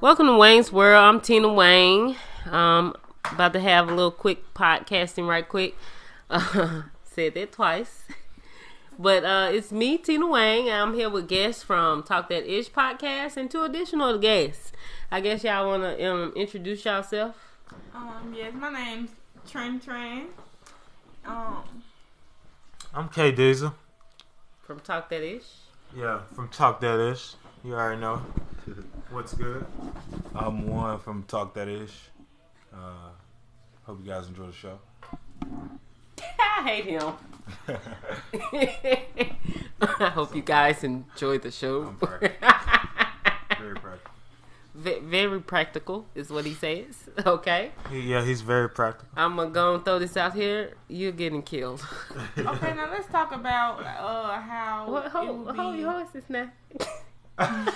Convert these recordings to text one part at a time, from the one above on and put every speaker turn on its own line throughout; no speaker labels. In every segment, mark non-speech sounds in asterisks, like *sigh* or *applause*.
Welcome to Wayne's World. I'm Tina Wayne. Um, about to have a little quick podcasting, right quick. *laughs* Uh, said that twice, but uh, it's me, Tina Wayne. I'm here with guests from Talk That Ish podcast and two additional guests. I guess y'all want to um, introduce yourself.
Um, yes, my name's Train Train. Um,
I'm K Diesel.
from Talk That Ish. *laughs*
Yeah, from Talk That Ish. You
*laughs*
already know. What's good?
I'm one from Talk That Ish. Uh, hope you guys enjoy the
*laughs*
show.
I hate him. *laughs* I hope you guys enjoyed the show.
I'm sorry. Very proud.
*laughs* Ve- Very practical is what he says. *laughs* Okay.
He, yeah, he's very practical.
I'm going to go and throw this out here. You're getting killed.
*laughs*
okay, now let's talk about uh how
*laughs* What?
it
Hold,
would be.
hold your horses *laughs* now. God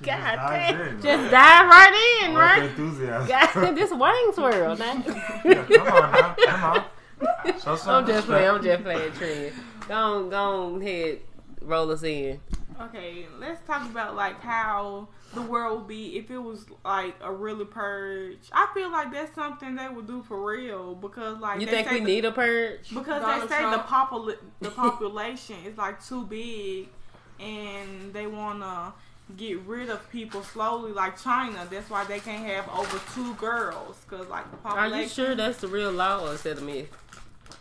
Dive
damn.
in.
Just dive right in,
Without
*laughs* right?
enthusiasm. *laughs*
God, this Wayne's world. Now. *laughs*
Come on now. Come on. Show some
I'm just
respect.
playing. I'm just playing. Trend. Go on, go on ahead. Roll us in.
Okay, let's talk about like how the world would be if it was like a really purge. I feel like that's something they would do for real because like
You
they
think
say
we
the-
need a purge?
because
Donald
they say the
Trump.
popul
*laughs*
the population is like too big and they wanna get rid of people slowly like China. That's why they can't have over two girls because like the
Are
population.
you sure that's the real law or is that a myth?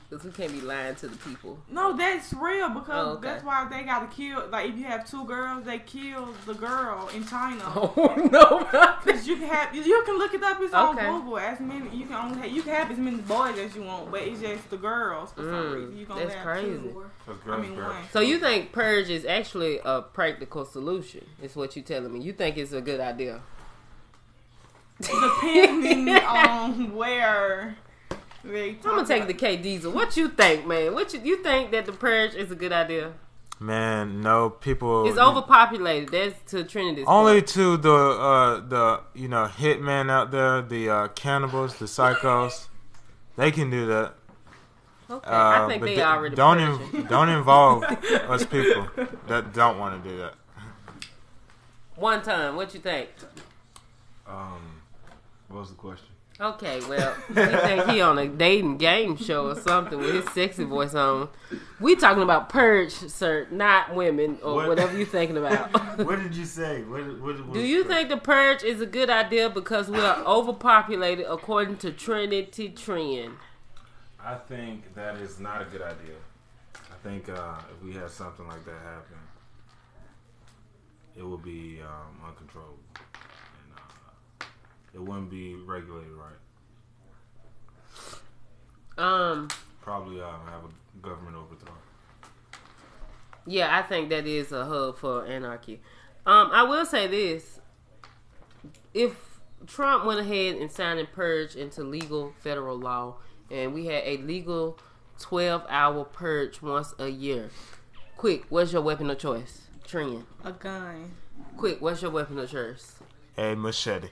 Because we can't be lying to the people. *laughs*
No, that's real because
Oh, okay.
that's why they gotta kill. Like, if you have two girls, they kill the girl in China.
Oh *laughs* no!
Cause you can have, you- you can look it up. It's
Okay.
on Google. As many you can only have, you can have as many boys as you want, but it's just the girls for some
Mm,
reason. You gonna
that's
have
crazy.
two.
That's
I
great,
mean,
great.
one.
so you think purge is actually a practical solution? Is what you telling me? You think it's a good idea? *laughs*
Depending on where they.
I'm gonna take the K Diesel. What you think, man? What you you think that the purge is a good idea?
Man, no people.
It's overpopulated. That's to Trinity's
Only
point.
to the uh, the you know hitman out there, the uh, cannibals, the psychos. They can do that.
Okay,
Uh,
I think
but
they
d-
already
don't
purging.
in,
*laughs*
don't involve us people that don't want to do that.
One time, what you think?
Um, what was the question?
*laughs* Okay,
*laughs*
well, you think he on a dating game show or something with his sexy voice on? We talking about purge, sir, not women or
What?
whatever you thinking
*laughs*
about.
What did you say? What, what, what
Do you think the purge is a good idea because we are overpopulated according to Trinity Trend?
I think that is not a good idea. I think uh, if we had something like that happen, it would be um, uncontrollable, and uh, it wouldn't be regulated right.
Um,
Probably um, have a government overthrow.
yeah, I think that is a hub for anarchy. Um, I will say this: if Trump went ahead and signed and purge into legal federal law, and we had a legal twelve-hour purge once a year, quick, what's your weapon of choice? Trend.
a gun.
Quick, what's your weapon of choice? *laughs*
A machete.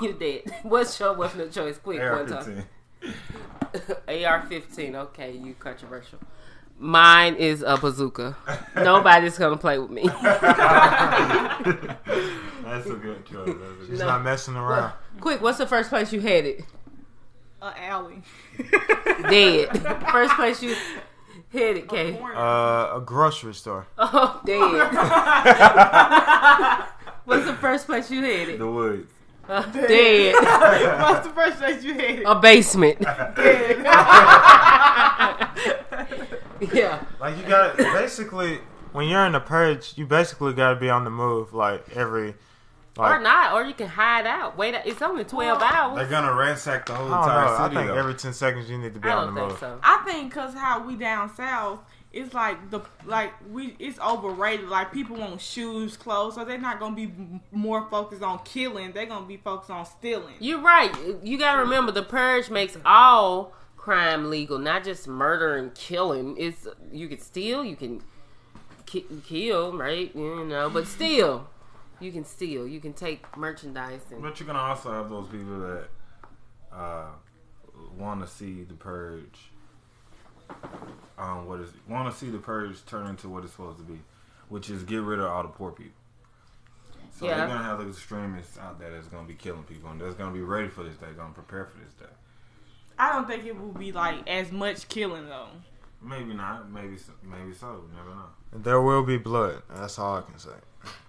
you dead. What's your weapon of choice? Quick, one time.
AR-15. *laughs*
*laughs* AR 15. Okay, you controversial. Mine is a
*laughs*
bazooka. Nobody's gonna play with me.
That's a good choice. That's a good
She's not messing around.
Quick, what's the first place you had it?
A alley. *laughs*
Dead. First place you had it, Kay.
Corner.
Uh, a
*laughs*
grocery store.
Oh,
*laughs*
dead. what's the first place you had it?
The woods.
Uh, dead.
*laughs*
What's the first place
*laughs*
you had?
A basement. Uh, yeah.
Like you got basically when you're in a purge, you basically got to be on the move. Like every,
Or
like
not, or you can hide out. Wait, it's only 12 hours.
They're gonna ransack the whole
I don't know.
entire
I
city.
think
though.
every ten seconds you need to be
I
on
don't
the
think
move.
so.
I think because how we down south, it's like the like we it's overrated. Like people want shoes, clothes, so they're not gonna be m- more focused on killing. They're gonna be focused on stealing.
You're right. You gotta remember the purge makes all crime legal, not just murder and killing. It's you can steal, you can ki- kill, right? You know, but still, you can steal, you can take merchandise and
But you're gonna also have those people that uh, want to see the purge. Um, what is want to see the purge turn into what it's supposed to be, which is get rid of all the poor people. So
Yeah.
they're gonna have those extremists out there that's gonna be killing people, and that's gonna be ready for this day, gonna prepare for this day.
I don't think it will be like as much killing though.
Maybe not, maybe so, maybe so, you never know.
There will be blood. That's all I can say.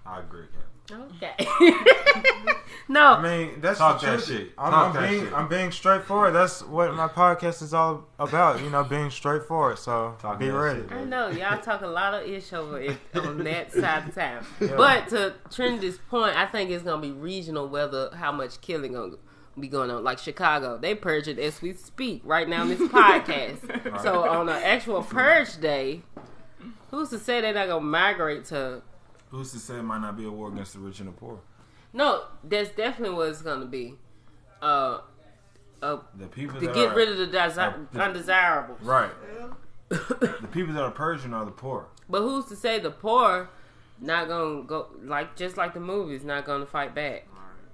I agree, Cap.
Okay.
I
*laughs* no.
mean, that's
Talk
the
that
truth.
shit.
I'm,
Talk
I'm
that
being
shit.
I'm being straightforward. That's what my podcast is all about. You know, being straightforward. So
Talk
be
that
ready.
shit.
I know y'all talk a lot of ish over it on that side of town, but to Trinity's point, I think it's gonna be regional whether how much killing gonna be going on. Like Chicago, they purge it as we speak right now in this podcast. So on an actual purge day, who's to say they're not gonna migrate to?
Who's to say it might not be a war against the rich and the poor?
No, that's definitely what it's gonna be. Uh, uh
The people
to
that
get
are,
rid of the desi-
uh,
undesirable.
right.
*laughs*
the people that are Persian are the poor.
But who's to say the poor not gonna go like just like the movies not gonna fight back?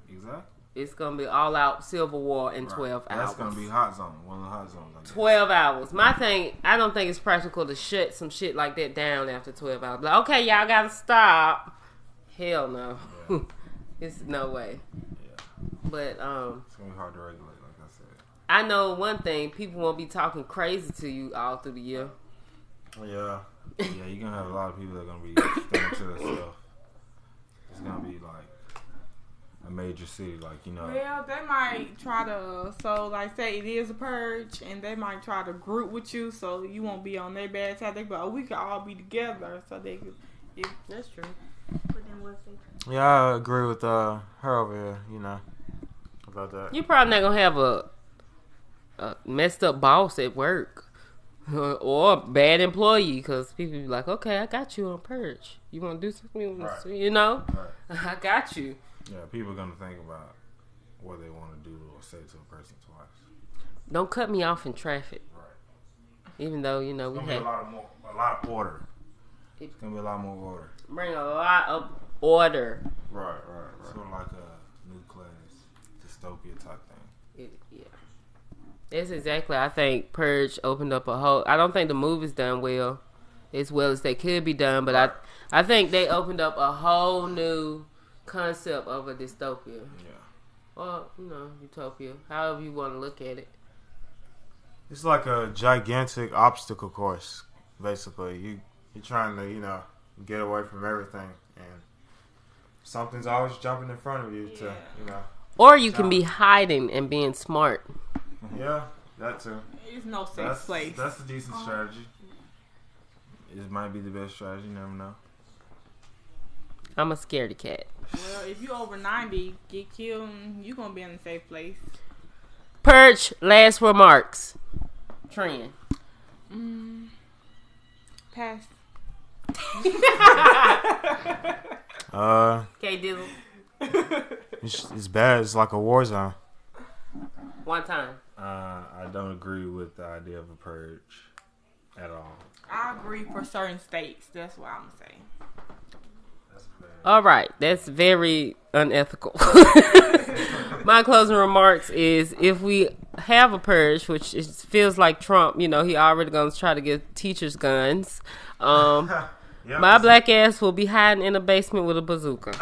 Exactly.
It's gonna be all out civil war in
Right.
twelve
That's
hours.
gonna be hot zone. One of the hot zones. I guess.
twelve hours. My thing, I don't think it's practical to shut some shit like that down after twelve hours. Like, okay, y'all gotta stop. Hell no,
Yeah.
*laughs* it's no way.
Yeah.
But um,
It's gonna be hard to regulate, like I said.
I know one thing: people won't be talking crazy to you all through the year.
Oh, Yeah. Yeah, you're gonna have a lot of people that are gonna be staying to themselves. It's gonna be like a major city, like you know.
Well, they might try to so like say it is a purge, and they might try to group with you, so you won't be on their bad side. They but oh, we can all be together, so they could.
That's true.
But then what's it?
Yeah, I agree with uh, her over here. You know about that.
You're probably not gonna have a, a messed up boss at work *laughs* or a bad employee because people be like, okay, I got you on purge. You want to do something? You wanna-
Right.
You know,
Right.
*laughs* I got you.
Yeah, people are gonna think about what they want to do or say to a person twice.
Don't cut me off in traffic,
Right.
even though you know
It's
we
gonna be
had
a lot of more, a lot of order.
It-
It's gonna be a lot more order.
bring a lot of order.
Right, right, right. Sort of like a nuclear dystopia type thing.
It, yeah, that's exactly. I think purge opened up a whole. I don't think the movie's done well, as well as they could be done, but I I think they opened up a whole new concept of a dystopia.
Yeah.
or you know utopia however you want to look at it
It's like a gigantic obstacle course, basically. You you're trying to you know get away from everything, and something's always jumping in front of you to you know.
or you can be hiding and being smart
Yeah, that too.
It's no safe
That's,
place.
that's a decent strategy. It might be the best strategy. You never know.
i'm a scaredy cat
well, if you over ninety, get killed, you gonna be in a safe place.
purge last remarks trend
Mm. Pass.
Uh,
okay dizzle
it's, it's bad. It's like a war zone.
one time
Uh, I don't agree with the idea of a purge at all.
I agree for certain states. That's what I'm saying.
That's bad.
all right that's very unethical *laughs* my closing remarks is if we have a purge which it feels like trump you know he already gonna try to get teachers guns um
Yeah,
my black ass will be hiding in a basement with a bazooka